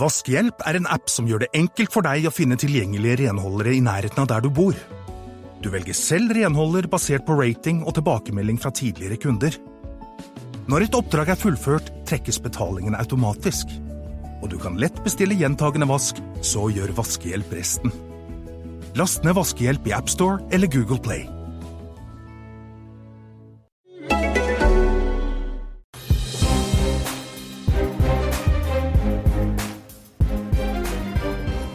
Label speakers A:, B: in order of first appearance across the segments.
A: Vaskehjelp er en app som gjør det enkelt for deg å finne tilgjengelige renholdere i nærheten av der du bor. Du velger selv renholder basert på rating og tilbakemelding fra tidligere kunder. Når et oppdrag er fullført, trekkes betalingen automatisk. Og du kan lett bestille gjentagende vask, så gjør Vaskehjelp resten. Last ned Vaskehjelp i AppStore eller Google Play.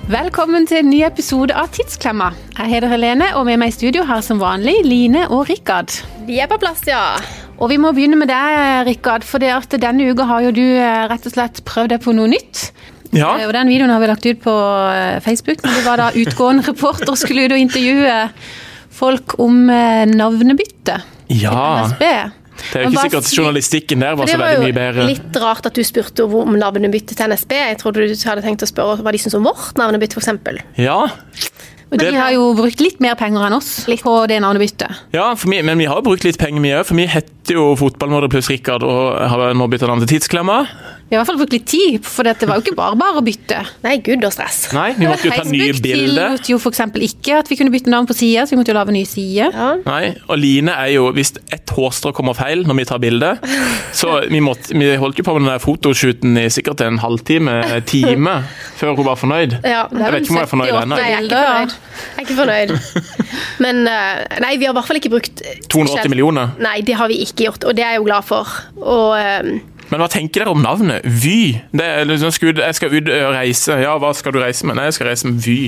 B: Velkommen til en ny episode av Tidsklemma. Jeg heter Helene, og med meg i studio har som vanlig Line og Rikard.
C: Vi er på plass, ja.
D: Altså,
B: Og vi må begynne med deg, Rikard, for det at denne uka har jo du eh, rett og slett prøvd deg på noe nytt.
D: Ja.
B: Eh, Og den videoen har vi lagt ut på eh, Facebook, når du var da utgående reporter og skulle ut og intervjue folk om eh, navnebytte.
D: Ja.
B: NSB.
D: Det er jo
B: Men
D: ikke
B: bare
D: sikkert
B: si-
D: journalistikken der var
C: Det
D: så
C: var
D: veldig
C: jo
D: mye bedre.
C: litt rart at du spurte om navnebytte til NSB. Jeg trodde du hadde tenkt å spørre hva de syns om vårt navnebytte, f.eks.
D: Ja,
B: Men de har jo brukt litt mer penger enn oss på det navnebyttet.
D: ja for vi, men vi har jo brukt litt penger, vi òg. For vi heter jo Fotballmordet pluss Rikard og har nå bytta navn til Tidsklemma.
B: Vi har i hvert fall brukt litt tid, for det var jo ikke bare bare å bytte.
C: Nei, gud og stress.
D: Nei, vi måtte jo ta nye
B: Facebook
D: bilder.
B: tillot jo f.eks. ikke at vi kunne bytte navn på sida, så vi måtte jo lage nye sider.
C: Ja.
D: Nei, og Line er jo Hvis ett hårstrå kommer feil når vi tar bilde Så vi, måtte, vi holdt jo på med den der fotoshooten i sikkert en halvtime, en time, før hun var fornøyd.
C: Ja, det er
D: jeg vet ikke om jeg er fornøyd ennå.
C: Nei, jeg er ikke fornøyd. Jeg er ikke fornøyd. Men eh, nei, vi har i hvert fall ikke brukt
D: 280 millioner.
C: Nei, det har vi ikke gjort, og det er jeg jo glad for. Og eh,
D: Men hva tenker dere om navnet? Vy? Det er liksom, skal ut- jeg skal ut og reise. Ja, hva skal du reise med? Nei, jeg skal reise med Vy.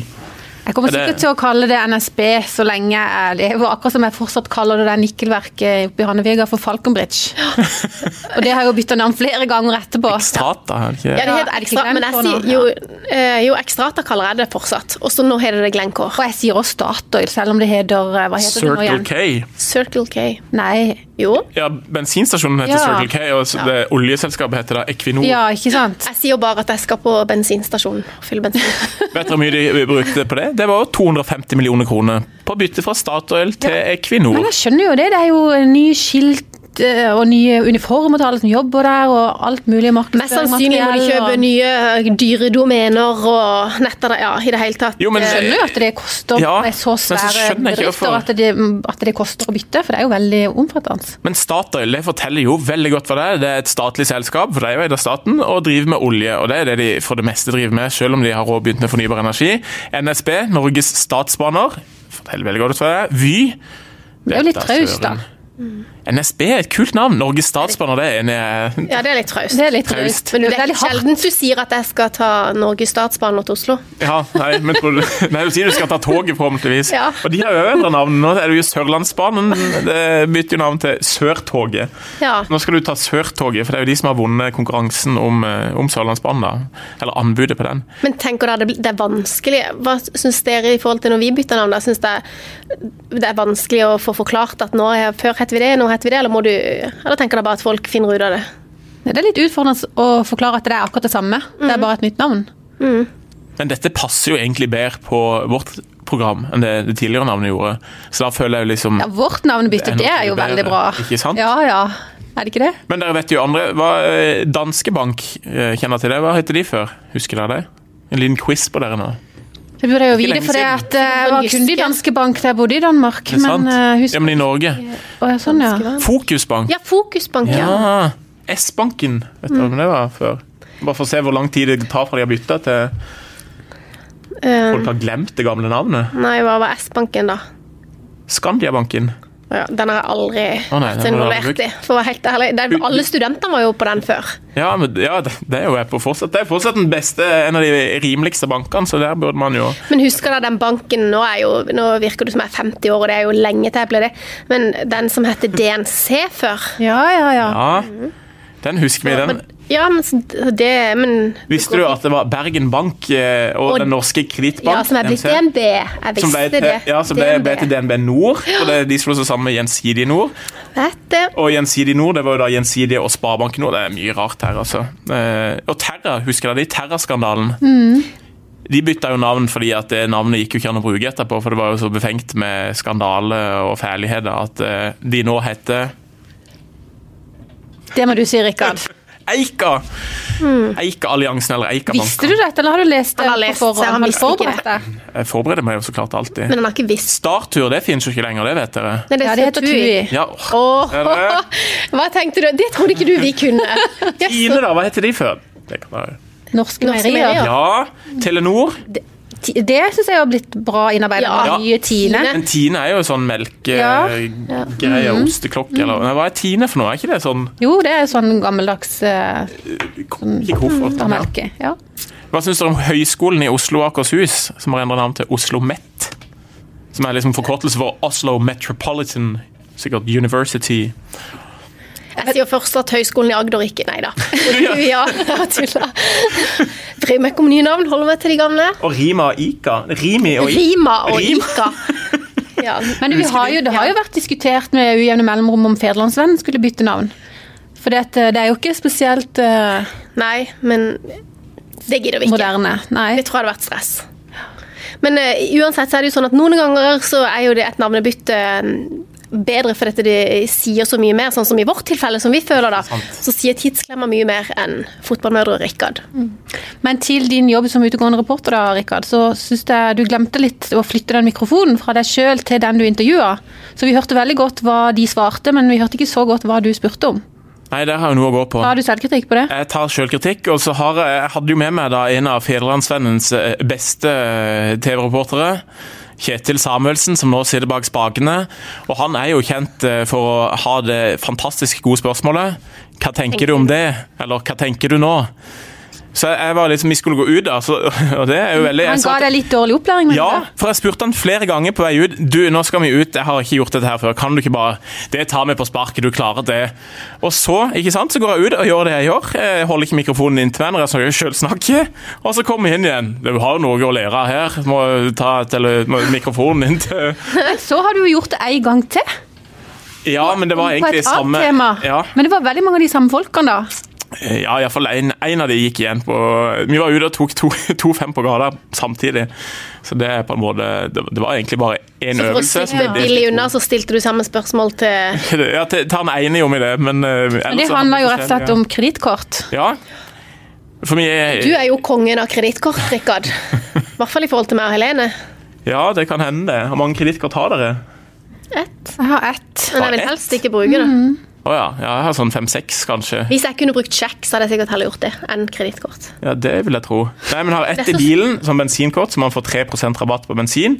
B: Jeg kommer
D: Er det-
B: sikkert til å kalle det NSB så lenge jeg lever, akkurat som jeg fortsatt kaller det der nikkelverket oppe i Hannevega for Falconbridge. Og det har jeg jo bytta navn flere ganger etterpå.
D: Strata, er det ikke
C: ja,
D: det?
C: det
B: Ja,
C: heter ekstra,
B: ikke
C: men jeg
B: Glencore
C: sier jo, eh, jo Extrata kaller jeg det fortsatt. Og så nå heter det
B: Og
C: Glencore.
B: jeg sier også Statoil, selv om det heter eh, Hva heter det nå
D: Circle
B: igjen?
D: K.
C: Circle K.
B: Nei.
C: Jo.
D: Ja, bensinstasjonen heter
B: Ja.
D: Circle K, og så det oljeselskapet heter da Equinor.
B: Ja, ikke sant?
C: Jeg sier bare at jeg skal på bensinstasjonen og fylle bensin.
D: Vet dere hvor mye de brukte på det? Det var 250 millioner kroner på bytte fra Statoil til Equinor.
B: Men jeg skjønner jo det. Det er jo nye skilt eh, og nye uniformer til alle som jobber der, og alt mulig
C: Mest sannsynlig må de
B: markedsføringsmateriell.
C: kjøpe
B: og-
C: nye dyre domener og netter ja, i det hele tatt.
D: Jo, men-
C: Eh,
B: Jeg skjønner jo at det koster
D: Ja,
B: med så
D: men så
B: svære
D: skjønner jeg ikke
B: bedrifter
D: hvorfor-
B: at det, at det koster å bytte, for det er jo veldig omfattende.
D: Men Statoil det forteller jo veldig godt hva det er. Det er et statlig selskap, for det er jo eid av staten, og driver med olje. Og det er det de for det meste driver med, selv om de har også begynt med fornybar energi. NSB, Norges Statsbaner, forteller veldig godt hva det er. Vy.
B: Det er jo litt traust, da.
D: NSB er et kult navn. Norges Statsbaner, det er en eh, jeg-
C: ja, det er litt traust.
B: Det er litt
D: Traust.
B: traust.
C: Men du,
B: Det
C: det
B: er
C: er
B: litt hardt.
C: sjelden du sier at jeg skal ta Norges Statsbaner til Oslo.
D: Ja, nei, men tror du Nei, du sier du skal ta toget, forhåpentligvis.
C: Ja.
D: Og de har jo endra navn. Nå er det jo Sørlandsbanen. Det bytter jo navn til Sørtoget.
C: Ja.
D: Nå skal du ta Sørtoget, for det er jo de som har vunnet konkurransen om, eh, om Sørlandsbanen. da. Eller anbudet på den.
C: Men tenk dere, det blir- det er vanskelig. Hva syns dere i forhold til når vi bytter navn? da? Syns dere det er vanskelig å få forklart at nå er, før het vi det, nå heter vi det? Eller, må du, eller tenker dere bare at folk finner ut av det?
B: Det er litt utfordrende å forklare at det er akkurat det samme. Det
D: Mm.
B: er bare et nytt navn.
D: Men dette passer jo egentlig bedre på vårt program enn det det tidligere navnet gjorde. Så da føler jeg jo liksom
B: Ja, vårt navnebytte,
D: Det er
B: det er
D: nok
B: jo
D: mye
B: veldig
D: bedre,
B: bra.
D: ikke sant?
B: Ja, ja. Er det ikke det?
D: Men dere vet jo andre. Hva, eh, Danske Bank, eh, kjenner til det? Hva heter de før? Husker dere det? En liten quiz på dere nå.
B: Det burde jeg jo vite,
D: lenge
B: for det
D: siden.
B: at eh, jeg var kunde i Danske Bank da jeg bodde i Danmark.
D: Er det sant?
B: Men eh,
D: ja,
B: husk
D: men i Norge.
B: Å, ja, Sånn, ja.
D: Fokusbank.
C: Ja, Fokusbank, ja. Mm.
D: Ja. S-banken. Vet du hvem det var før? Bare for å se hvor lang tid det tar fra de har bytta til
C: Eh,
D: folk har glemt det gamle navnet.
C: nei, hva var S-banken, da?
D: Skandiabanken.
C: Ja, den har jeg aldri
D: Å nei,
C: vært
D: den har du aldri
C: involvert i. For å være helt ærlig, det, Alle studentene var jo på den før.
D: Ja, men, ja, det det er jo jeg på fortsatt. Det er fortsatt den beste, en av de rimeligste bankene, så der burde man jo
C: Men husker dere den banken Nå, er jo, nå virker du som jeg er 50 år, og det er jo lenge til jeg ble det. Men den som heter DNC før
B: Ja, ja, ja.
D: Ja. Den husker vi, den.
C: Ja, men så det Men
D: Visste du at det var Bergen Bank eh, og
C: Og-
D: Den norske kredittbank
C: Ja, som er blitt
D: NC?
C: DNB. Jeg
D: som
C: visste
D: ble til,
C: det.
D: ja, som ble, ble til DNB Nord. Og det, de slo seg sammen med Gjensidige Nord.
C: Vet det.
D: Og Gjensidig Nord, det var jo da Gjensidige og Sparebanken Nord. Det er mye rart her, altså. Eh, og Terra, husker dere de? Terra-skandalen. De bytta jo navn fordi at det navnet gikk jo ikke an å bruke etterpå, for det var jo så befengt med skandale og fæligheter at eh, de nå heter
B: Det må du si, Rikard.
D: Eika. Eika-alliansen eller
B: Visste
D: Eika-banken.
B: du dette, eller har du lest det
C: Han har
B: på
C: lest, jeg har
B: forhånd? Har du
C: visst ikke
B: forberedt deg?
D: Jeg forbereder meg jo så klart alltid.
C: Men han har ikke visst.
D: Starttur det finnes jo ikke lenger, det vet dere.
C: Nei,
B: Ja, det heter Tui.
D: Ja, åh.
C: Åh,
D: Er det?
C: hva tenkte du? Det trodde ikke du vi kunne. Yes.
D: Tine, da. Hva heter de før? Det kan være-
B: Norske
C: Norske
B: meierier.
C: meierier.
D: Ja, Telenor.
B: Ti- Det syns jeg har blitt bra innarbeidet.
C: Ja.
B: med Nye Tine.
D: Men Tine er jo sånn
B: Ja.
D: melkegreie, osteklokke eller Nei, Hva er Tine for noe? Er ikke det sånn
B: Jo, det er jo sånn gammeldags uh,
D: ikke koffert? Ja.
B: melke. Ja.
D: Hva syns dere om Høgskolen i Oslo og Akershus, som har endret navn til Oslo Met? Som er liksom forkortelse for Oslo Metropolitan sikkert University.
C: Jeg sier først at Høgskolen i Agder ikke Nei da. Ja, jeg tuller. Bryr meg ikke om nye navn, holder meg til de gamle.
D: Og Rima og Ika. Rimi og Ika.
C: Rima og
D: Rim.
C: Ika. Ja.
B: Men vi har jo, det har jo vært diskutert med ujevne mellomrom om Federlandsvennen skulle bytte navn. For det, at, eh, det er jo ikke spesielt eh,
C: Nei, men det gidder vi ikke.
B: moderne. Nei.
C: Jeg tror det hadde vært stress. Men eh, uansett så er det jo sånn at noen ganger så er jo det et navnebytte eh, bedre fordi at det sier så mye mer, sånn som i vårt tilfelle, som vi føler da, så sier tidsklemmer mye mer enn fotballmødre og Rikard.
B: Men til din jobb som utegående reporter, da, Rikard, så syns jeg du glemte litt å flytte den mikrofonen fra deg sjøl til den du intervjua. Så vi hørte veldig godt hva de svarte, men vi hørte ikke så godt hva du spurte om.
D: Nei, der har jeg noe å gå på.
B: Har du selvkritikk på det?
D: Jeg tar selvkritikk, og så har jeg, jeg hadde jo med meg da en av Federlandsvennens eh, beste eh, TV-reportere. Kjetil Samuelsen, som nå sitter bak spakene. Og han er jo kjent eh, for å ha det fantastisk gode spørsmålet. Hva tenker du om det? Eller hva tenker du nå? Så jeg var liksom, Vi skulle gå ut, da, så, og det er jo veldig jeg
B: Han
D: sa
B: ga
D: til-
B: deg litt dårlig opplæring? mener
D: ja,
B: du?
D: for jeg spurte han flere ganger på vei ut. Du, nå skal vi ut, jeg har ikke gjort dette her før. Kan du ikke bare Det tar vi på sparket, du klarer det. Og så, ikke sant, så går jeg ut og gjør det jeg gjør. Jeg holder ikke mikrofonen inntil meg når jeg skal sjøl snakke. Og så kommer vi inn igjen. Du har jo noe å lære av her. Må ta tele må mikrofonen inn til
B: Men så har du jo gjort det en gang til.
D: Ja, men det var
B: På
D: egentlig
B: et annet
D: samme
B: tema.
D: Ja,
B: Men det var veldig mange av de samme folkene, da.
D: ja iallfall én av de gikk igjen på Vi var ute og tok to, to fem på gata samtidig. Så det er på en måte Det, det var egentlig bare én
C: Så for å
D: øvelse. som
C: slippe
D: ble delt i
C: billig
D: to.
C: unna, så stilte du samme spørsmål til
D: Ja, til- til han ene gjorde vi det, men eh,
B: Men
D: ellers
B: det
D: så
B: handler jo
D: hadde vi
B: rett og slett om kredittkort.
D: forskjellige- Ja. For vi
C: Du
D: er
C: er jo kongen av kredittkort, Rikard. I hvert fall i forhold til meg og Helene.
D: Ja, det kan hende, det. Hvor mange kredittkort har dere?
C: Ett.
B: Jeg har ett.
C: Men jeg
D: Bare ett?
C: vil helst ikke bruke det.
D: Å ja. ja, jeg har sånn fem-seks, kanskje.
C: Hvis jeg kunne brukt sjekk, så hadde jeg sikkert heller gjort det enn kredittkort.
D: Ja, Det vil jeg tro. Nei, men jeg har ett i bilen som bensinkort, så man får 3 rabatt på bensin.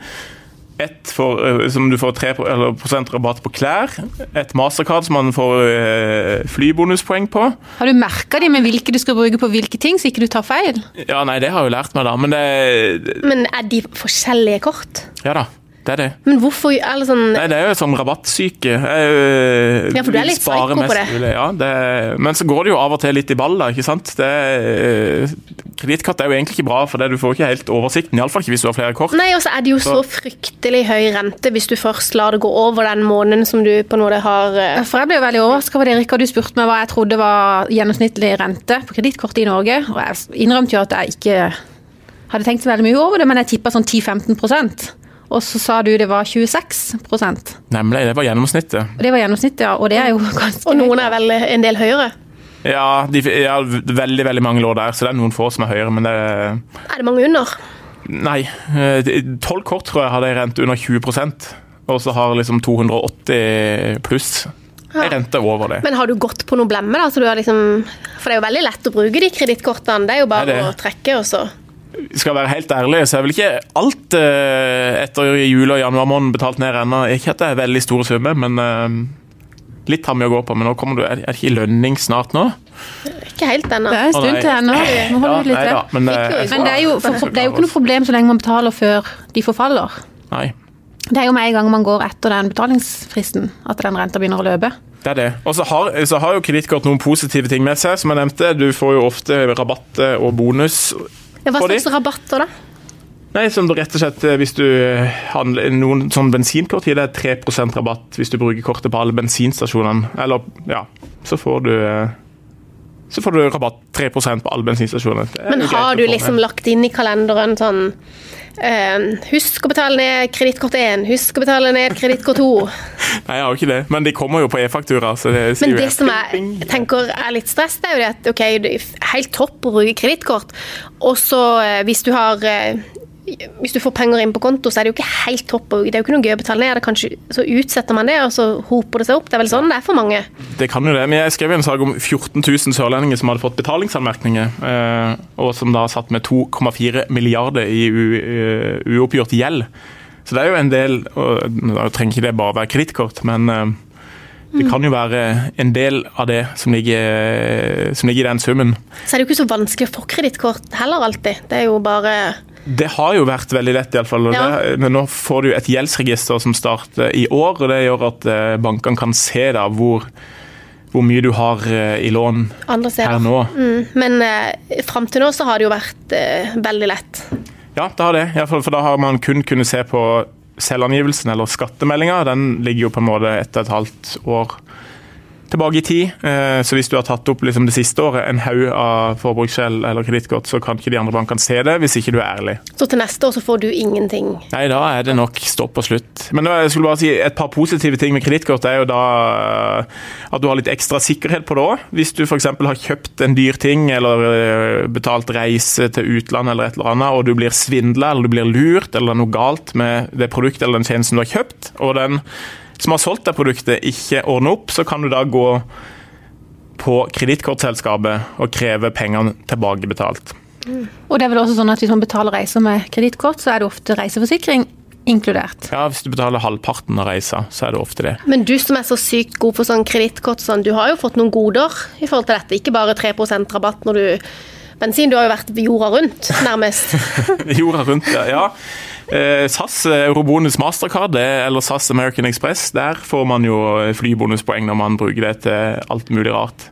D: Ett for, eh, som du får 3 pro- eller prosent rabatt på klær. Et mastercard som man får eh, flybonuspoeng på.
B: Har du merka de med hvilke du skal bruke på hvilke ting, så ikke du tar feil?
D: Ja, nei, det har jeg jo lært meg, da. Men det
C: Men er de forskjellige kort?
D: Ja da. Det er det.
C: Men hvorfor eller sånn,
D: Nei, det er jo sånn rabattsyke. Jeg, øh,
C: Ja, for du er
D: vil
C: litt
D: spare
C: psyko på
D: mest
C: det.
D: mulig, Ja, det er- men så går det jo av og til litt i ball, da, ikke sant? Det er, øh, Kredittkort er jo egentlig ikke bra, for det du får ikke helt oversikten. Iallfall ikke hvis du har flere kort.
C: Nei, og så er det jo så fryktelig høy rente hvis du først lar det gå over den måneden som du på en måte har eh,
B: For jeg ble jo veldig overraska over det, Rikard. Du spurte meg hva jeg trodde var gjennomsnittlig rente på kredittkortet i Norge, og jeg innrømte jo at jeg ikke hadde tenkt så veldig mye over det, men jeg tippa sånn 10-15 og så sa du det var 26 Og
D: Nemlig, det var gjennomsnittet.
B: det var gjennomsnittet, ja. Og det er jo ganske
C: Og noen er vel en del høyere.
D: Ja, de, ja, veldig, veldig mange lå der, så det er noen få som er høyere, men det er-
C: Er det mange under?
D: Nei. eh, Tolv kort tror jeg hadde en rente under 20 og så har liksom 280 pluss en rente over det.
C: Men har du gått på noe blemme, da? Så du har liksom, for det er jo veldig lett å bruke de kredittkortene. Det er jo bare
D: Det er det.
C: å trekke, og så
D: skal jeg være helt ærlig, så er vel ikke alt eh, etter jul og januar måned betalt ned ennå. Ikke at det er veldig store summer, men eh, litt har vi å gå på. Men nå kommer du, er er det ikke lønning snart nå?
C: Ikke helt ennå.
B: Det er en
D: Å,
B: stund
D: nei.
B: til ennå. Må holde ut litt
D: nei
B: til.
D: da, men,
C: Fikk jo
D: eh,
C: ikke.
B: Men det er, jo, for, det er jo ikke noe problem så lenge man betaler før de forfaller.
D: Nei,
B: Det er jo med en gang man går etter den betalingsfristen at den renta begynner å løpe.
D: det er det. Og så har, så har jo kredittkort noen positive ting med seg, som jeg nevnte. Du får jo ofte rabatt eh, og bonus.
C: Ja, Hva
D: Får de?
C: slags rabatter, da?
D: Nei, som rett og slett eh, hvis du handler noen sånn bensinkort gir deg 3 rabatt hvis du bruker kortet på alle bensinstasjonene. Eller, ja, så får du eh, så får du rabatt 3 på alle bensinstasjoner. Det er
C: Men
D: jo greit
C: har
D: å
C: du
D: få med.
C: liksom lagt inn i kalenderen sånn Eh, husk å betale ned kredittkort 1, husk å betale ned kredittkort 2.
D: Nei, jeg har jo ikke det. Men de kommer jo på e-faktura. så det
C: Men
D: sier jo
C: det
D: jeg.
C: som jeg tenker er litt stress, det er jo det at ok, det er helt topp å bruke kredittkort, og så eh, hvis du har eh, hvis du får penger inn på konto, så er det jo ikke helt topp. å- Det er jo ikke noe gøy å betale ned. Det er kanskje, så utsetter man det, og så hoper det seg opp. Det er vel sånn det er for mange.
D: Det kan jo det, men jeg skrev en sak om 14 000 sørlendinger som hadde fått betalingsanmerkninger, eh, og som da satt med 2,4 milliarder i u- eh, uoppgjort gjeld. Så det er jo en del, og da trenger ikke det bare være kredittkort, men eh, det kan jo være en del av det som ligger, som ligger i den summen.
C: Så er det jo ikke så vanskelig å få kredittkort heller alltid. Det er jo bare
D: Det har jo vært veldig lett, iallfall.
C: Ja.
D: Men nå får du jo et gjeldsregister som starter i år, og det gjør at eh, bankene kan se da hvor, hvor mye du har eh, i lån
C: andre steder.
D: her nå.
C: Mm, Men eh, fram til nå så har det jo vært eh, veldig lett.
D: Ja, det har det. I hvert fall, for da har man kun kunnet se på selvangivelsen eller skattemeldinga. Den ligger jo på en måte etter et halvt år tilbake i tid. Eh, Så hvis du har tatt opp liksom det siste året en haug av forbruksgjeld eller kredittkort, så kan ikke de andre bankene se det hvis ikke du er ærlig.
C: Så til neste år så får du ingenting.
D: Nei, da er det nok stopp og slutt. Men nå, jeg skulle bare si et par positive ting med kredittkort er jo da eh, at du har litt ekstra sikkerhet på det òg. Hvis du f.eks. har kjøpt en dyr ting eller eh, betalt reise til utlandet eller et eller annet, og du blir svindla eller du blir lurt eller det er noe galt med det produktet eller den tjenesten du har kjøpt, og den som har solgt det produktet ikke ordner opp, så kan du da gå på kredittkortselskapet og kreve pengene tilbakebetalt.
B: Og det er vel også sånn at hvis man betaler reiser med kredittkort, så er det ofte reiseforsikring inkludert.
D: Ja, Hvis du betaler halvparten av reisa, så er det ofte det.
C: Men du som er så sykt god på sånn kredittkort, sånn, du har jo fått noen goder i forhold til dette. Ikke bare 3 rabatt når du Bensin, du har jo vært jorda rundt, nærmest.
D: Jorda rundt, ja. ja. Eh, SAS, eh, Eurobonus Mastercard det- eller SAS American Express, der får man jo eh, flybonuspoeng når man bruker det til alt mulig rart.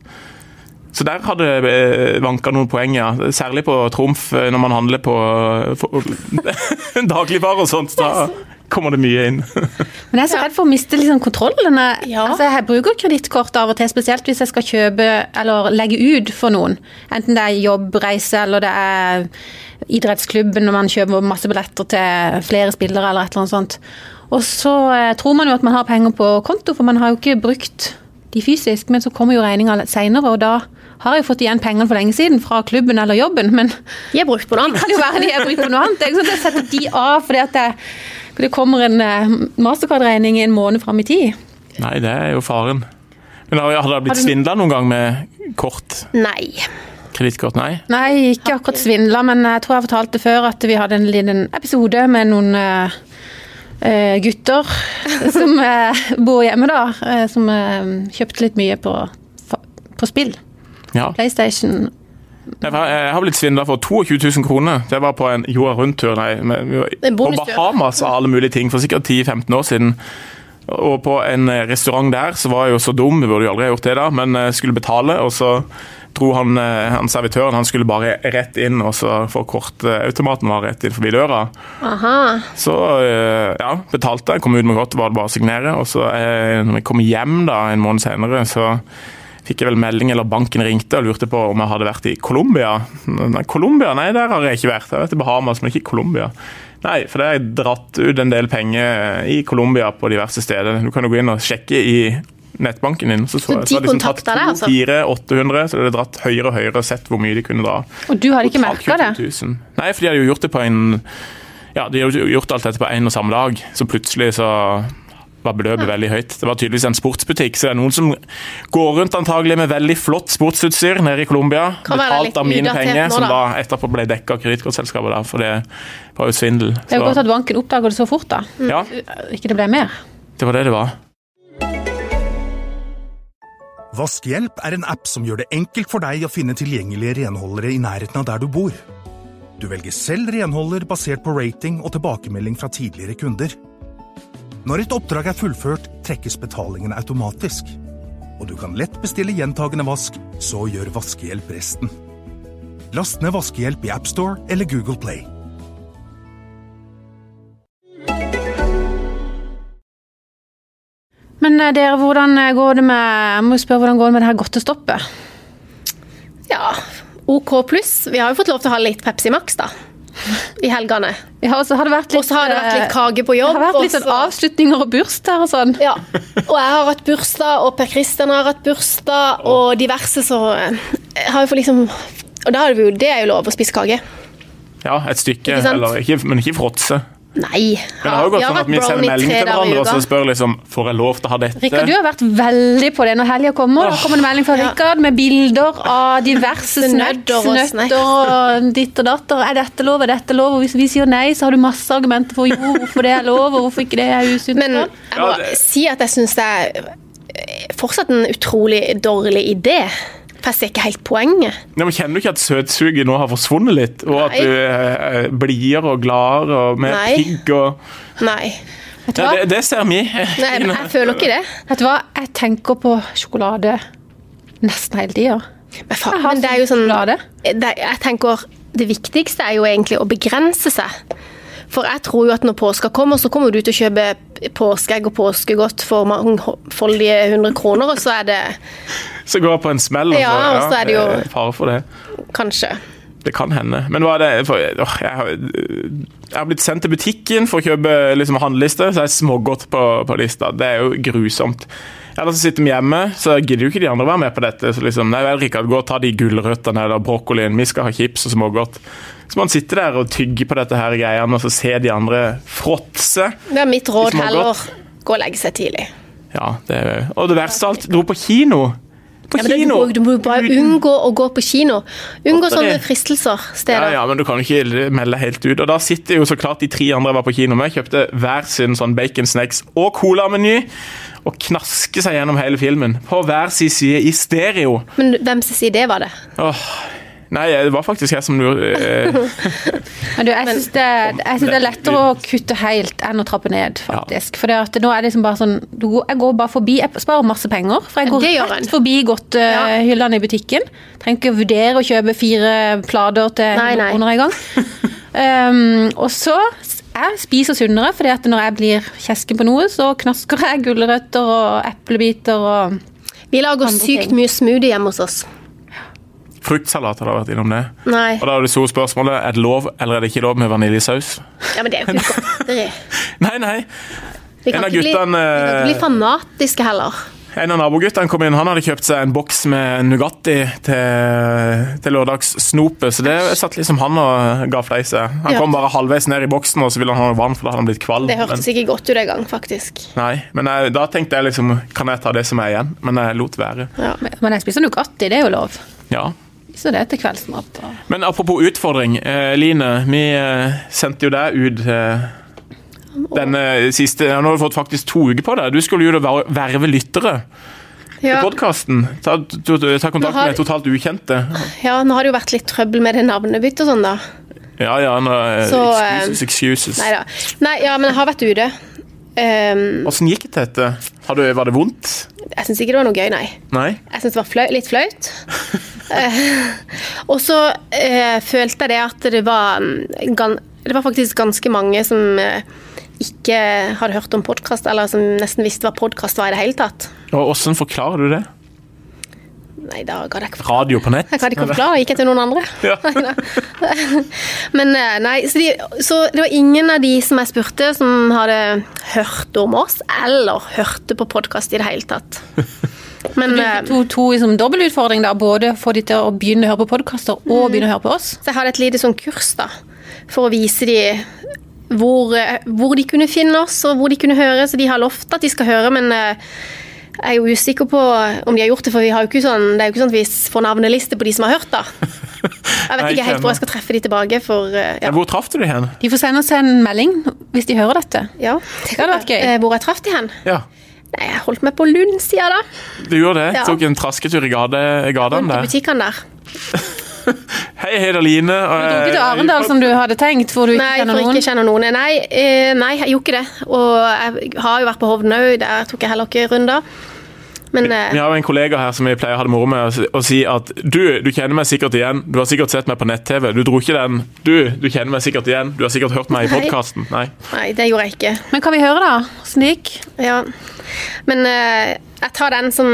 D: Så der har det eh, vanka noen poeng, ja. Særlig på Trumf, eh, når man handler på eh, for- dagligvarer og sånt. Da kommer det mye inn.
B: Men jeg er så redd for å miste liksom kontrollen. Jeg-
C: Ja.
B: Altså, jeg bruker kredittkort av og til, spesielt hvis jeg skal kjøpe eller legge ut for noen. Enten det er jobbreise eller det er idrettsklubben når man kjøper masse billetter til flere spillere eller et eller annet sånt. Og så eh, tror man jo at man har penger på konto, for man har jo ikke brukt de fysisk, men så kommer jo regninga seinere, og da har jeg jo fått igjen pengene for lenge siden fra klubben eller jobben, men
C: De har brukt på noe annet.
B: kan jo være de jeg bruker på noe annet. Det er ikke sånn at jeg setter de av fordi at det, det kommer en eh, Mastercard-regning en måned fram i tid.
D: Nei, det er jo faren. Men har har dere blitt svindla noen gang med kort?
C: Nei.
D: Kredittkort? Nei?
B: Nei, ikke akkurat svindla, men jeg tror jeg har fortalt det før at vi hadde en liten episode med noen eh, eh, gutter som eh, bor hjemme, da. eh, som eh, kjøpte litt mye på, på spill.
D: Ja.
B: PlayStation.
D: Jeg har- jeg har blitt svindla for 22 000 kroner. Det var på en jorda rundt-tur. nei, men vi var
C: En
D: På
C: bonustur.
D: Bahamas og alle mulige ting for sikkert 10-15 år siden. Og på en eh, restaurant der så var jeg jo så dum, vi burde jo aldri ha gjort det da, men eh, skulle betale, og så dro han, eh, han servitøren han skulle bare rett inn, og så for kortautomaten var rett inn forbi døra.
C: Aha.
D: Så eh, ja, betalte jeg, kom ut med godt, var det bare å signere. Og så eh, når jeg kom hjem da, en måned senere, så fikk jeg vel melding, eller banken ringte og lurte på om jeg hadde vært i Colombia. Nei, Colombia? Nei, der har jeg ikke vært. Jeg har vært i Bahamas, men ikke i Colombia. Nei, for det har jeg dratt ut en del penger eh, i Colombia på diverse steder. Du kan jo gå inn og sjekke i nettbanken din. Så,
C: Så
D: jeg-
C: de
D: har liksom tatt
C: kontakta deg, altså?
D: 400-800, så de hadde dratt høyere og høyere og sett hvor mye de kunne dra.
B: Og du hadde ikke
D: Totalt
B: merka det?
D: 22 000. Nei, for de hadde jo gjort det på en Ja, de hadde jo gjort alt dette på en og samme dag, så plutselig så var beløpet veldig høyt. Det var tydeligvis en sportsbutikk, så det er noen som går rundt antagelig med veldig flott sportsutstyr nede i Colombia,
C: Kan være litt
D: betalt av mine
C: udatert
D: penger,
C: nå,
D: som
C: da.
D: da etterpå ble dekka av kredittkortselskapet, da, for det var jo svindel.
B: Det er jo
D: Så-
B: godt at banken oppdager det så fort, da.
D: ja,
B: Ikke det ble mer.
D: det var det det var.
A: Vaskehjelp er en app som gjør det enkelt for deg å finne tilgjengelige renholdere i nærheten av der du bor. Du velger selv renholder basert på rating og tilbakemelding fra tidligere kunder. Når et oppdrag er fullført, trekkes betalingen automatisk. Og du kan lett bestille gjentagende vask, så gjør Vaskehjelp resten. Last ned Vaskehjelp i AppStore eller Google Play.
B: Men eh, dere, hvordan eh, går det med Jeg må jo spørre, hvordan går det med det her godtestoppet?
C: Ja. OK pluss. Vi har jo fått lov til å ha litt Pepsi Max, da. i helgene.
B: Ja, og så har det vært litt,
C: Og så har det vært litt
B: eh,
C: kake på jobb.
B: Det har vært litt
C: og
B: sånn
C: så-
B: avslutninger og bursdager og sånn.
C: Ja. Og jeg har hatt bursdag, og Per Kristian har hatt bursdag, og diverse, så eh, jeg har jo fått liksom Og da er det jo, det er jo lov å spise kake.
D: Ja, et stykke,
C: Ikke sant?
D: eller, ikke, men ikke fråtse.
C: Nei.
D: Men det har jo gått sånn at vi sender meldinger til hverandre og så spør liksom, får jeg lov til å ha dette.
B: Rikard, du har vært veldig på det når helga kommer. Da kommer det melding fra
C: Ja.
B: Rikard med bilder av diverse
C: Snødder
B: snøtter
C: og
B: og,
C: snacks.
B: og ditt og datter. Er dette lov, er dette lov? Og hvis vi sier nei, så har du masse argumenter for jo, hvorfor det er lov, og hvorfor ikke det er usunt.
C: Men jeg må
D: Ja, det-
C: si at jeg syns det er eh, fortsatt en utrolig dårlig idé. For jeg ser ikke helt poenget.
D: Ja, men kjenner du ikke at søtsuget nå har forsvunnet litt? Og at
C: Nei.
D: du er blidere og gladere og mer
C: Nei.
D: pigg og
C: Nei.
B: Vet du
D: ja,
B: hva?
D: det, det ser vi.
C: Nei jeg, jeg føler ikke det.
B: Vet du hva? Jeg tenker på sjokolade nesten hele tida.
C: Men, faen,
B: Jeg har
C: men det er jo
B: sånn
C: sånn
B: sjokolade.
C: det, Jeg tenker det viktigste er jo egentlig å begrense seg. For jeg tror jo at når påska kommer, så kommer du til å kjøpe påskeegg og påskegodt for mangfoldige 100 kroner, og så er det
D: Så går jeg på en smell, og så,
C: Ja, og så er det jo-
D: fare for det.
C: kanskje
D: Det kan hende. Men hva er det for, åh, jeg, har, jeg har blitt sendt til butikken for å kjøpe liksom, handleliste, så jeg er smågodt på, på lista. Det er jo grusomt. Eller så sitter vi hjemme, så gidder jo ikke de andre å være med på dette. Så liksom, nei vel, Rikard, gå og ta de gulrøttene eller brokkolien. Vi skal ha chips og smågodt. Så man sitter der og tygger på dette her greiene, og så ser de andre fråtse.
C: Det er mitt råd
D: Smaker
C: heller.
D: godt.
C: Gå og legge seg tidlig.
D: Ja, det er jo Og det verste av alt, dro på kino. På
C: Ja, men det, du,
D: kino!
C: må, du må jo bare unngå å gå på kino. Unngå
D: Godteri.
C: sånne fristelser
D: Ja,
C: steder.
D: ja, men du kan jo ikke melde helt ut. Og da sitter jo så klart de tre andre jeg var på kino med, kjøpte hver sin sånn bacon snacks og cola-meny, og knaske seg gjennom hele filmen. På hver sin side i stereo.
C: Men hvem sin side det var det?
D: Åh, nei, det var faktisk jeg som lurte eh,
B: Men du, jeg syns det, jeg synes det er lettere å kutte helt enn å trappe ned, faktisk. For det at nå er det liksom bare sånn du går, Jeg går bare forbi, jeg sparer masse penger. For jeg går
C: Det gjør en.
B: rett forbi godthyllene i butikken. Trenger ikke å vurdere å kjøpe fire plater til
C: Nei,
B: 100
C: nei.
B: kroner en gang. Um, og så s- jeg spiser sunnere, fordi at når jeg blir kjesken på noe, så knasker jeg gulrøtter og eplebiter og
C: Vi lager
B: Andre
C: sykt
B: ting.
C: mye smoothie hjemme hos oss.
D: Fruktsalat hadde vært innom det.
C: Nei.
D: Og da er det store spørsmålet er det lov eller er det ikke lov med vaniljesaus.
C: Ja, men det er jo ikke godteri.
D: Nei, nei.
C: Vi kan
D: En av
C: ikke bli-
D: guttene,
C: vi kan ikke
D: eh,
C: bli fanatiske heller.
D: En av naboguttene kom inn, han hadde kjøpt seg en boks med Nugatti til, til lørdagssnopet, så det satt liksom han og ga fleise. Han
C: Ja.
D: kom bare halvveis ned i boksen, og så ville han ha vann, for da hadde han blitt kvalm.
C: Det
D: Men-
C: hørtes ikke godt ut en gang, faktisk.
D: Nei, men jeg, da tenkte jeg liksom Kan jeg ta det som er igjen? Men jeg lot være.
C: Ja.
B: Men jeg spiser Nugatti, det er jo lov.
D: Ja.
B: Spiser det til kveldsmat. Og
D: Men apropos utfordring. Eh, Line, vi eh, sendte jo deg ut eh, denne siste ja, Nå har du fått faktisk to uker på deg. Du skulle jo da ver- verve lyttere
C: Ja,
D: til podkasten. Ta, ta, ta
C: Nå
D: kontakt
C: har-
D: med totalt ukjente.
C: ja, nå har det jo vært litt trøbbel med det navnebyttet og sånn, da.
D: Ja ja, nå, eh,
C: Så, eh,
D: excuses, excuses.
C: Nei da. Nei, ja, men jeg har vært ute. Ehm,
D: Åssen gikk det dette? Har du, var det vondt?
C: jeg syns ikke det var noe gøy, nei.
D: Nei?
C: Jeg syns det var flau, litt flaut. Eh, og så eh, følte jeg det at det var mm, gan, Det var faktisk ganske mange som eh, ikke hadde hørt om podkast, eller som nesten visste hva podkast var i det hele tatt.
D: Og åssen forklarer du det?
C: Nei, da ga det ikke for
D: Radio på nett?
C: Jeg kan ikke forklare, jeg gikk etter noen andre.
D: Ja.
C: Men eh, nei, så, de, så det var ingen av de som jeg spurte, som hadde hørt om oss, eller hørte på podkast i det hele tatt. Men eh,
B: to, to liksom, dobbeltutfordring da, både få de til å begynne å høre på podkaster
C: Mm.
B: og begynne å høre på oss.
C: Så jeg hadde et lite sånn kurs da, for å vise de hvor, eh, hvor de kunne finne oss, og hvor de kunne høre. Så de har lovt at de skal høre, men eh, jeg er jo usikker på om de har gjort det, for vi har jo ikke sånn, det er jo ikke sånn at vi får navneliste på de som har hørt, da. Jeg vet
D: Nei,
C: ikke helt hvor jeg skal treffe de tilbake, for eh, ja.
D: Hvor traff du det hen?
B: De får sende oss en melding hvis de hører dette.
C: ja.
B: Det hadde vært gøy.
C: Eh, Hvor jeg traff de hen?
D: Ja.
C: Nei, jeg holdt meg på Lund, sier jeg da.
D: Du gjorde det?
C: Ja.
D: Tok en trasketur i gade- gatene
C: Rundt i
D: der?
C: butikkene der.
D: Hei, hei, det er Line. Eh, Og,
B: Du dro ikke til Arendal
C: sånn-
B: som du hadde tenkt, hvor du ikke
C: Nei,
B: kjenner
C: for
B: noen.
C: ikke kjenner noen. Nei, eh, nei, jeg gjorde ikke det. Og jeg har jo vært på Hovden òg, der tok jeg heller ikke runder. Men eh,
D: Vi har jo en kollega her som vi pleier å ha det moro med, å si at du, du kjenner meg sikkert igjen. Du har sikkert sett meg på nett-TV. Du dro ikke den. Du, du kjenner meg sikkert igjen. Du har sikkert hørt meg i
C: Nei.
D: podkasten. Nei.
C: Nei, det gjorde jeg ikke.
B: Men kan vi høre, da? Åssen det gikk?
C: Ja. Men eh, Jeg tar den som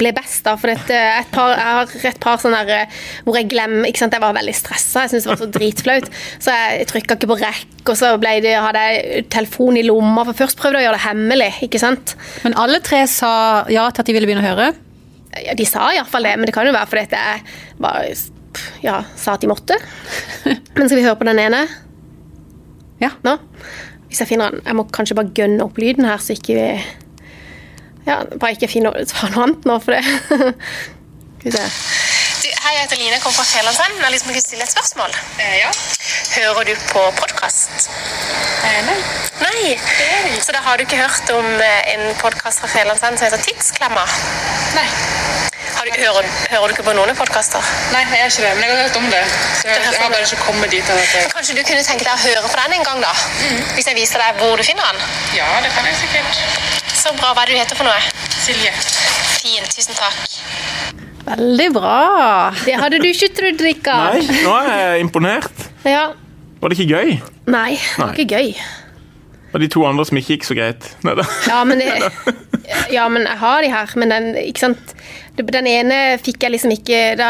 C: ble best, da. For dette, et par, jeg har et par sånne der, eh, hvor jeg glemmer ikke sant? Jeg var veldig stressa, jeg syntes det var så dritflaut. Så jeg trykka ikke på rekk, og så ble det, hadde jeg telefon i lomma. For først prøvde jeg å gjøre det hemmelig, ikke sant.
B: Men alle tre sa ja til at de ville begynne å høre.
C: Ja, de sa iallfall det, men det kan jo være fordi at jeg bare ja, sa at de måtte. Men skal vi høre på den ene
B: Ja.
C: nå? Hvis jeg finner den Jeg må kanskje bare gønne opp lyden her, så ikke vi Ja, bare ikke finner ta noe annet nå, for det Skal vi se.
E: Du, hei, jeg heter Line, jeg kommer fra Fjellandsvennen. Jeg har lyst til å stille et spørsmål. Eh, ja. Hører du på podkast? Eh, nei. Nei? Så da har du ikke hørt om eh, en podkast fra Fjellandsvennen som heter Tidsklemma? Nei. Har du, hører, hører du ikke på noen podkaster?
F: Nei, jeg er ikke det, men jeg har hørt om det. sånn Så jeg, jeg har bare ikke kommet dit. At jeg,
E: Kanskje du kunne tenke deg å høre på den en gang, da? Hvis jeg viser deg hvor du finner den?
F: ja, det kan jeg sikkert.
E: Så bra. Hva er det du heter for noe?
F: Silje.
E: Fint. Tusen takk.
B: Veldig bra.
C: Det hadde du ikke trodd,
D: Nei,
C: Rikard.
D: nå er jeg imponert.
C: Ja.
D: Var det ikke gøy?
C: Nei, det var ikke gøy.
D: Og de to andre som ikke gikk så greit. Nei, da.
C: Ja, mm. men, det, ja, men jeg har de her. Men den, ikke sant? den ene fikk jeg liksom ikke Da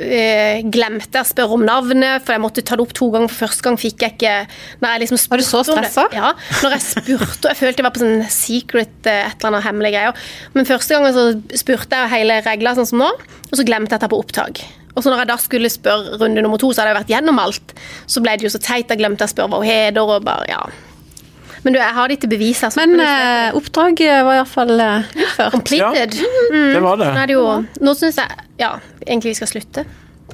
C: eh, glemte jeg å spørre om navnet, for jeg måtte ta det opp to ganger. For første gang fikk jeg ikke når jeg liksom
B: Var du så
C: spurte om det-
B: stressa?
C: Ja. Når jeg spurte Jeg følte jeg var på sånn secret eh, et eller annet hemmelige greier. Men første gangen så spurte jeg hele regla sånn som nå, og så glemte jeg at jeg er på opptak. Og så når jeg da skulle spørre runde nummer to, så hadde jeg vært gjennom alt. Så ble det jo så teit. Jeg glemte jeg å spørre hva hun heter, og bare Ja. Men du, jeg har de til bevis her. så
B: Men
C: kan du-
B: eh, oppdraget var iallfall eh, utført.
C: Completed. Mm-hmm.
D: Det var det.
C: Nå er det jo Nå syns jeg Ja, egentlig vi skal slutte.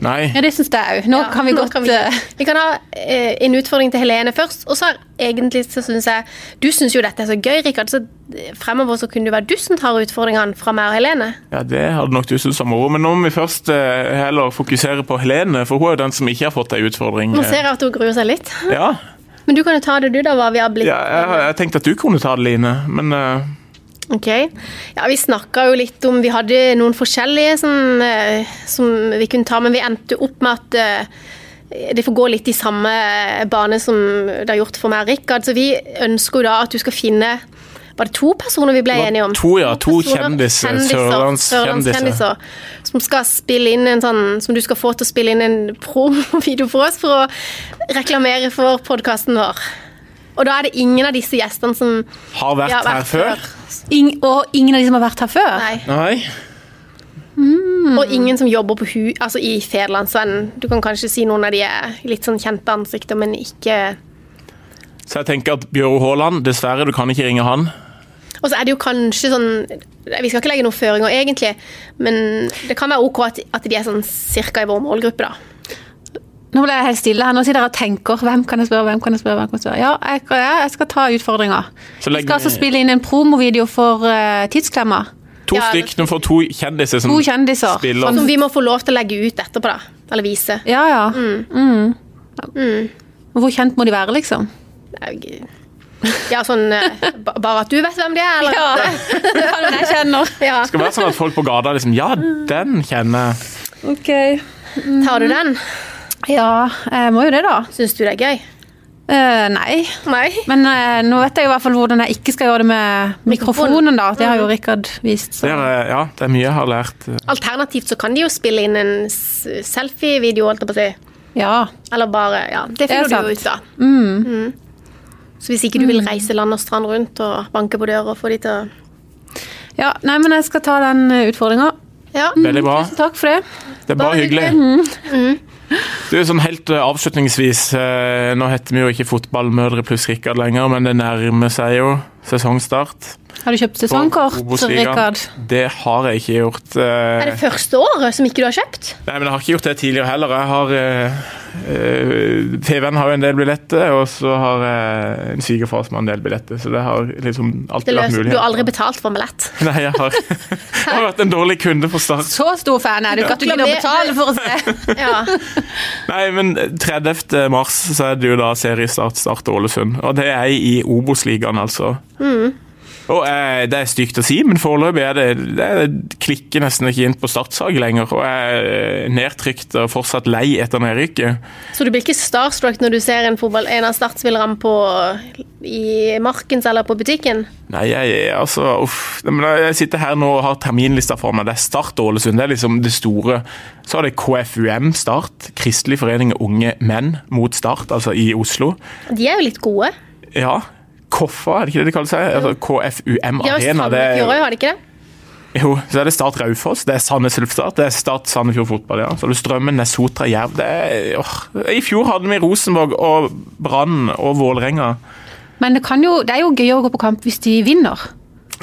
D: Nei.
B: Ja, det syns jeg òg. Nå
C: Ja,
B: kan vi
C: nå
B: godt
C: vi,
B: eh,
C: vi kan ha eh, en utfordring til Helene først. Og så har egentlig så syns jeg Du syns jo dette er så gøy, Rikard, så eh, fremover så kunne det være du som tar utfordringene fra meg og Helene.
D: Ja, Det hadde nok du syntes var moro, men nå må vi først eh, heller fokusere på Helene, for hun er jo den som ikke har fått ei utfordring.
C: Nå ser jeg at hun gruer seg litt.
D: Ja,
C: Men du kan jo ta det, du, da, hva vi har blitt.
D: ja jeg, har- jeg tenkte at du kunne ta det, Line, men eh,
C: Ok. Ja, vi snakka jo litt om Vi hadde noen forskjellige som, eh, som vi kunne ta, men vi endte opp med at eh, det får gå litt i samme bane som det har gjort for meg og Rikard. Så vi ønsker jo da at du skal finne Var det to personer vi ble
D: var
C: enige om?
D: to, ja, to kjendiser,
C: Sørlandskjendiser.
D: sørlandskjendiser.
C: sørlandskjendiser, Som skal spille inn en sånn Som du skal få til å spille inn en promovideo for oss for å reklamere for podkasten vår. Og da er det ingen av disse gjestene som
D: har vært,
C: har vært
D: her før.
B: ing, Og ingen av de som har vært her før?
C: Nei.
D: Nei.
C: Og ingen som jobber på hu, altså i Federlandsvennen. Du kan kanskje si noen av de er litt sånn kjente ansikter, men ikke
D: Så jeg tenker at Bjøro Haaland, dessverre, du kan ikke ringe han.
C: Og så er det jo kanskje sånn Vi skal ikke legge noen føringer, egentlig, men det kan være OK at, at de er sånn cirka i vår målgruppe, da.
B: Nå ble jeg helt stille her. Nå sitter jeg og tenker hvem kan jeg spørre, hvem kan jeg spørre, hvem kan jeg spørre. Ja, jeg, ja, jeg skal ta utfordringa.
D: Så
B: Jeg
D: legger
B: skal altså
D: vi-
B: spille inn en promovideo for eh, Tidsklemma.
D: To
C: Ja,
D: stykk, nå får to kjendiser som
B: To kjendiser.
D: spiller.
C: Sånn Som vi må få lov til å legge ut etterpå, da. Eller vise.
B: Ja, ja. Mm. Og Hvor kjent må de være, liksom?
C: Jeg- Ja, sånn eh, ba- Bare at du vet hvem de er, eller?
B: Ja, den jeg kjenner.
C: Ja.
D: Det skal være sånn at folk på gata liksom Ja, den kjenner jeg.
B: Ok.
C: Tar du den?
B: Ja, jeg må jo det, da.
C: Syns du det er gøy?
B: Eh, nei.
C: Nei.
B: Men eh, nå vet jeg i hvert fall hvordan jeg ikke skal gjøre det med mikrofonen, Mm. da. Det har jo Rikard vist. Så.
D: Det er, eh, ja, det er mye jeg har lært.
C: Mm. Alternativt så kan de jo spille inn en s- selfie-video, holdt jeg på å si.
B: Ja.
C: Eller bare Ja, det
B: Det er
C: finner du jo
B: sant.
C: ut av. Mm. Så hvis ikke du vil reise land og strand rundt og banke på døra og få de til å
B: ja. Nei, men jeg skal ta den utfordringa.
C: Ja. Mm.
D: Veldig bra.
B: Tusen takk for det.
D: Det er bare
C: Bare
D: hyggelig. Du, sånn helt eh, avslutningsvis, eh, nå heter vi jo ikke Fotballmødre pluss Rikard lenger, men det nærmer seg jo sesongstart.
B: Har du kjøpt
D: på
B: sesongkort,
D: Obos-ligaen.
B: Rikard?
D: Det har jeg ikke gjort. eh,
C: Er det første året som ikke du har kjøpt?
D: Nei, men jeg har ikke gjort det tidligere heller. Jeg har eh, eh, TV-en har jo en del billetter, og så har eh, en svigerfar som har en del billetter, så det har liksom
C: Det
D: alltid vært
C: løser,
D: mulighet.
C: du har aldri betalt for billett.
D: Nei, jeg har, jeg har vært en dårlig kunde for start.
B: Så stor fan er du ikke at du gidder å
C: Gratulerer.
B: betale for å se.
C: Ja.
D: Nei, men 30. mars så er det jo da seriestart start Ålesund, og det er i Obos-ligaen, altså. Og eh, Det er stygt å si, men foreløpig er det, det er, klikker nesten ikke inn på startsag lenger. Og jeg er eh, nedtrykt og fortsatt lei etter nedrykket.
C: Så du blir ikke starstruck når du ser en, fotball, en av startspillerne på, i markens eller på butikken?
D: Nei, jeg er altså uff. Men jeg sitter her nå og har terminlista for meg. Det er Start og Ålesund. Det er liksom det store. Så er det KFUM Start. Kristelig forening av unge menn mot Start, altså i Oslo.
C: De er jo litt gode.
D: Ja. Koffa, er det ikke det de kaller seg? Altså, KFUM
C: De har jo
D: Arena.
C: Stranda
D: Det
C: i
D: er,
C: fjor òg, har de ikke det?
D: jo, så er det Start Raufoss, det er Sandnes Ulfstad, det er Start Sandefjord Fotball. ja. Så er det Strømmen, det er Sotra Jerv. Det er, åh. I fjor hadde vi Rosenborg og Brann og Vålerenga.
B: Men det, kan jo, det er jo gøy å gå på kamp hvis de vinner.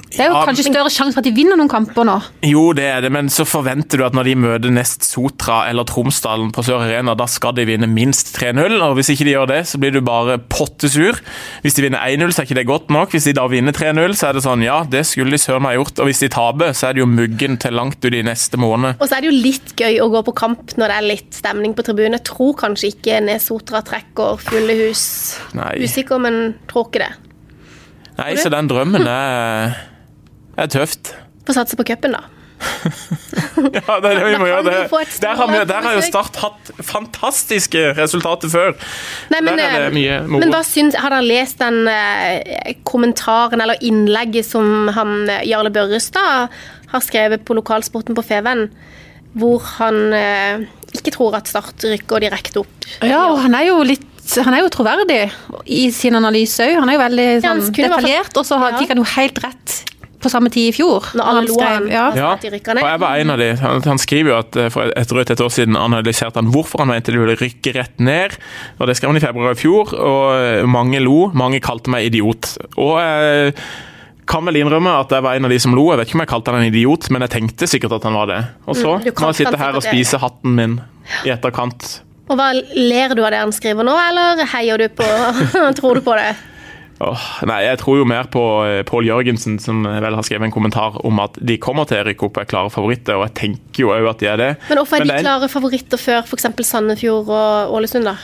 B: Det er jo
D: Ja,
B: kanskje større sjanse for at de vinner noen kamper nå.
D: Jo, det er det, men så forventer du at når de møter nest Sotra eller Tromsdalen på Sør Arena, da skal de vinne minst 3-0. og Hvis ikke de gjør det, så blir du bare pottesur. Hvis de vinner 1-0, så er ikke det godt nok. Hvis de da vinner 3-0, så er det sånn ja, det skulle de søren meg gjort. Og hvis de taper, så er det jo muggen til langt ut i neste måned.
C: Og så er det jo litt gøy å gå på kamp når det er litt stemning på tribunen. Jeg tror kanskje ikke Nesotra trekker fulle hus.
D: Nei.
C: Usikker, men tror ikke det.
D: Nei, så den drømmen er, er tøft.
C: Får satse på cupen, da.
D: Ja, det er det vi
C: Da
D: må
C: kan
D: gjøre.
C: vi få
D: Det.
C: et
D: Der har, vi,
C: stort
D: der har jo
C: besøk.
D: Start hatt fantastiske resultater før.
C: Nei, men,
D: Der er
C: eh,
D: det mye moro.
C: men hva syns, Har dere lest den eh, kommentaren eller innlegget som han eh, Jarle Børrestad har skrevet på lokalsporten på Feven, hvor han eh, ikke tror at Start rykker direkte opp?
B: Ja, og han er jo litt han er jo troverdig i sin analyse òg. Han er jo veldig
C: Ja, han
B: sånn,
C: skulle i hvert fall-
B: detaljert, og så har-
C: Ja.
B: fikk han jo helt rett på samme tid i fjor.
C: Når alle lo av
B: skrev-
C: han.
B: ja.
C: Altså,
D: Ja,
C: at de rykker ned.
D: og jeg var en av de. Han, han skriver jo at eh, for et drøyt et år siden analyserte han hvorfor han mente de ville rykke rett ned. og Det skrev han i februar i fjor, og eh, mange lo. Mange kalte meg idiot. Og jeg kan vel innrømme at jeg var en av de som lo. Jeg vet ikke om jeg kalte han en idiot, men jeg tenkte sikkert at han var det. Og så
C: Mm, du
D: må jeg
C: kalte
D: sitte
C: han
D: her og
C: sikkert det.
D: spise hatten min i etterkant.
C: Og hva Ler du av det han skriver nå, eller heier du på Tror du på det?
D: Åh, nei, jeg tror jo mer på eh, Pål Jørgensen, som vel har skrevet en kommentar om at de kommer til å rykke opp og er klare favoritter, og jeg tenker jo òg at de er det.
C: Men hvorfor er
D: det
C: de
D: en-
C: klare favoritter før f.eks. Sandefjord og Ålesund, da?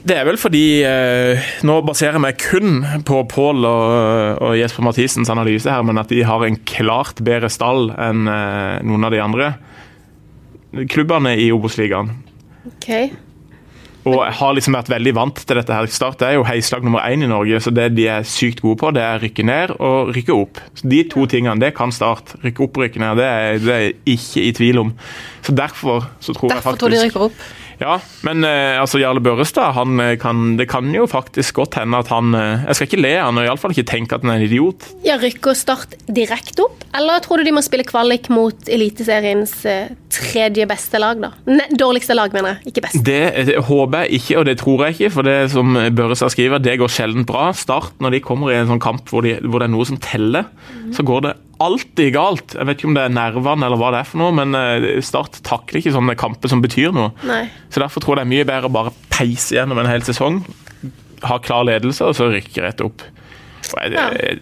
D: Det er vel fordi eh, Nå baserer jeg meg kun på Pål og, og Jesper Mathisens analyse her, men at de har en klart bedre stall enn eh, noen av de andre klubbene i Obos-ligaen.
C: Ok.
D: Og jeg har liksom vært veldig vant til dette her. Start er jo heislag nummer én i Norge, så det de er sykt gode på, det er rykke ned og rykke opp. Så De to tingene, det kan Start. Rykke opp og rykke ned, det er det er jeg ikke i tvil om. Så derfor så tror jeg
B: Derfor
D: faktisk
B: tror de rykker opp.
D: ja, men eh, altså Jarle Børrestad, han eh, kan, det kan jo faktisk godt hende at han eh, Jeg skal ikke le av han, og iallfall ikke tenke at han er en idiot.
C: Ja, Rykker Start direkte opp, eller tror du de må spille kvalik mot Eliteseriens eh, tredje beste lag, da? Ne, dårligste lag, mener jeg. Ikke best.
D: Det, eh, håper jeg ikke, og det tror jeg ikke, for det som Børrestad skriver, det går sjelden bra. Start, når de kommer i en sånn kamp hvor, de, hvor det er noe som teller, så går det alltid galt. Jeg vet ikke om det er nervene eller hva det er for noe, men eh, Start takler ikke sånne kamper som betyr noe.
C: Nei.
D: Så derfor tror jeg det er mye bedre å bare peise gjennom en hel sesong, ha klar ledelse, og så rykke rett opp. Og jeg,
C: Ja.
D: jeg,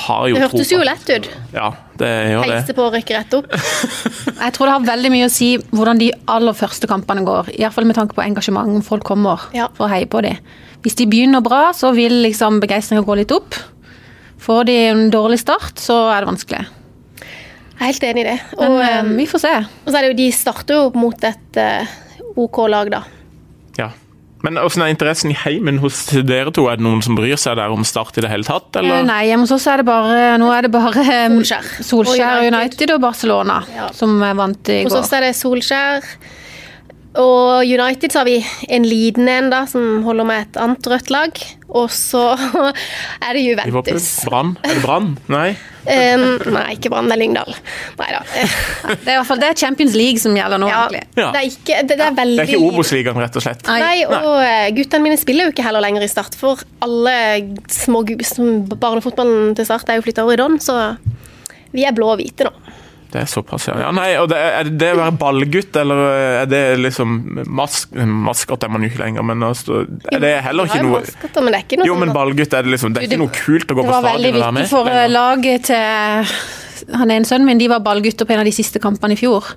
D: har jo
C: Det
D: tro
C: hørtes
D: på
C: jo
D: at-
C: lett ut.
D: Ja, det gjør det.
C: Heise på og rykke rett opp.
B: Jeg tror det har veldig mye å si hvordan de aller første kampene går. Iallfall med tanke på engasjement, om folk kommer
C: Ja.
B: for å heie på dem. Hvis de begynner bra, så vil liksom begeistringa gå litt opp. Får de en dårlig start, så er det vanskelig.
C: Jeg er helt enig i det.
B: Men
C: Og, eh,
B: eh, vi får se.
C: og så er det jo, de starter jo mot et eh, OK lag, da.
D: Ja. Men åssen er interessen i heimen hos dere to? Er det noen som bryr seg der om Start i det hele tatt,
B: Eh,
D: eller?
B: Nei, hjemme hos oss er det bare Nå er det bare eh,
C: Solskjær.
B: Solskjær
C: Og United.
B: United og Barcelona
C: Ja.
B: som eh, vant i
C: Hos
B: går.
C: oss er det Solskjær. Og United så har vi en liten en da, som holder med et annet rødt lag. Og så er det
D: Liverpool?
C: Juventus.
D: Brann? Er det Brann? Nei?
C: Um, nei, ikke Brann, det er Lyngdal. Nei da.
B: Det er i hvert fall det er Champions League som gjelder nå,
C: Ja,
B: egentlig.
C: det er ikke Det, det er veldig
D: Det er ikke Obos-ligaen, rett og slett.
B: Nei.
C: Nei, og eh, guttene mine spiller jo ikke heller lenger i Start, for alle små gu- som barnefotballen til Start er jo flytta over i Don, så vi er blå og hvite nå.
D: Det er såpass, ja. ja nei, og det, er det det å være ballgutt, eller eh, er det liksom mask, Maskot er man jo ikke lenger, men altså, er det heller
C: Vi har
D: ikke
C: jo
D: noe
C: maskotter, men det er ikke noe
D: Jo, men
C: sånn at-
D: ballgutt er det liksom Det
B: Du,
D: er
B: det-
D: ikke noe kult å gå
B: Det
D: på
B: var veldig
D: stadion og
B: viktig
D: være med.
B: for eh,
D: lenger.
B: laget til Han ene sønnen min de var ballgutter på en av de siste kampene i fjor.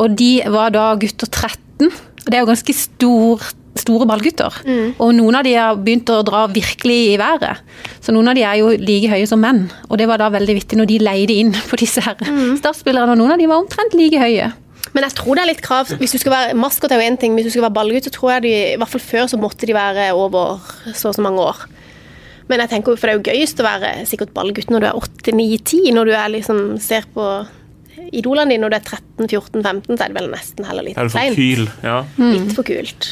B: Og de var da gutter 13. Og det er jo ganske stor, store ballgutter. Og noen av de har begynt å dra virkelig i været. Så noen av de er jo like høye som menn. Og det var da veldig vittig når de leide inn på disse her startspillerne. Og noen av de var omtrent like høye.
C: Men jeg tror det er litt krav. Hvis du skal være maskot er jo en ting, men hvis du skal være ballgutt, så tror jeg de, i hvert fall før så måtte de være over så og så mange år. Men jeg tenker, jo- for det er jo gøyest å være sikkert ballgutt når du er 8-9-10, når du er liksom, ser på idolene dine, når du er 13-14-15, så er det vel nesten heller litt
D: Er du sånn for
C: kleint.
D: kyl? Ja.
C: Litt for kult.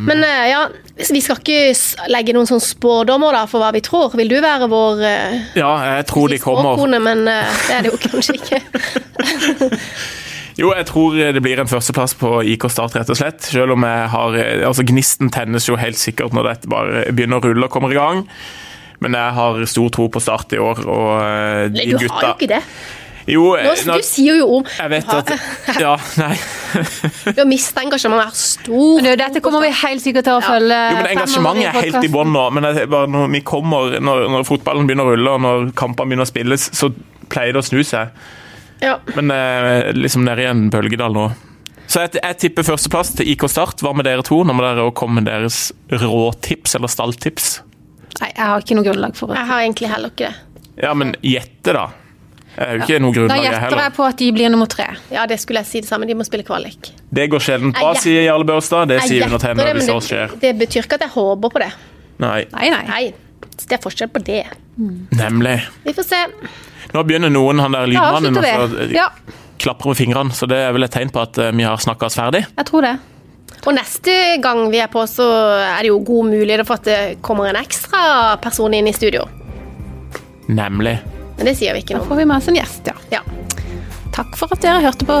C: Men eh, Mm. ja, vi skal ikke s- legge noen sånn spådommer da, for hva vi tror. Vil du være vår eh,
D: ja, jeg tror de kommer.
C: spåkone? Men eh, det er det jo kanskje ikke.
D: Jo, jeg tror eh, det blir en førsteplass på IK Start, rett og slett. Selv om jeg har Altså, gnisten tennes jo helt sikkert når dette bare begynner å rulle og kommer i gang. Men jeg har stor tro på Start i år, og eh, de
C: Du
D: gutta
C: har jo ikke det.
D: Jo, eh,
C: Nå,
D: nå-
C: du sier jo om
D: jeg vet
C: du har-
D: at Ja, nei.
C: Du har mistet engasjementet her stor.
B: Men du, dette kommer vi helt sikkert til å følge.
C: Eh,
D: Jo, men Engasjementet er helt i bånn nå. Men jeg, bare når, vi kommer, når, når fotballen begynner å rulle og når kampene begynner å spilles, så pleier det å snu seg.
C: Ja.
D: Men eh, liksom nede i en bølgedal nå. Så jeg, jeg tipper førsteplass til IK Start. Hva med dere to? Nå må dere også komme med deres råtips eller stalltips.
B: Nei, jeg har ikke noe grunnlag for det.
C: Jeg har egentlig heller ikke det.
D: Ja, men gjette, da. Jeg er jo ikke noe
B: Da
D: grunnlag jeg
B: gjetter jeg
D: heller.
B: på at de blir nummer tre.
C: Ja, det skulle jeg si det samme. De må spille kvalik.
D: Det går sjelden bra,
C: Jeg
D: sier Jarle Børstad. Det sier vi når
C: gjetter
D: tennene
C: det, men
D: hvis det skjer.
C: det, det betyr ikke at jeg håper på det.
D: Nei,
B: Nei, nei.
C: Nei, det er forskjell på det.
D: nemlig.
C: Vi får se.
D: Nå begynner noen, han der
B: Da
D: lydmannen,
B: avslutter
D: å
B: vi. Ja,
D: klapre med fingrene, så det er vel et tegn på at eh, vi har snakka oss ferdig.
B: jeg tror det.
C: Og neste gang vi er på, så er det jo god mulighet for at det kommer en ekstra person inn i studio.
D: Nemlig.
C: Men det sier vi ikke
B: Da
C: noe om.
B: får vi med oss en gjest, ja.
C: Ja.
B: Takk for at dere hørte på.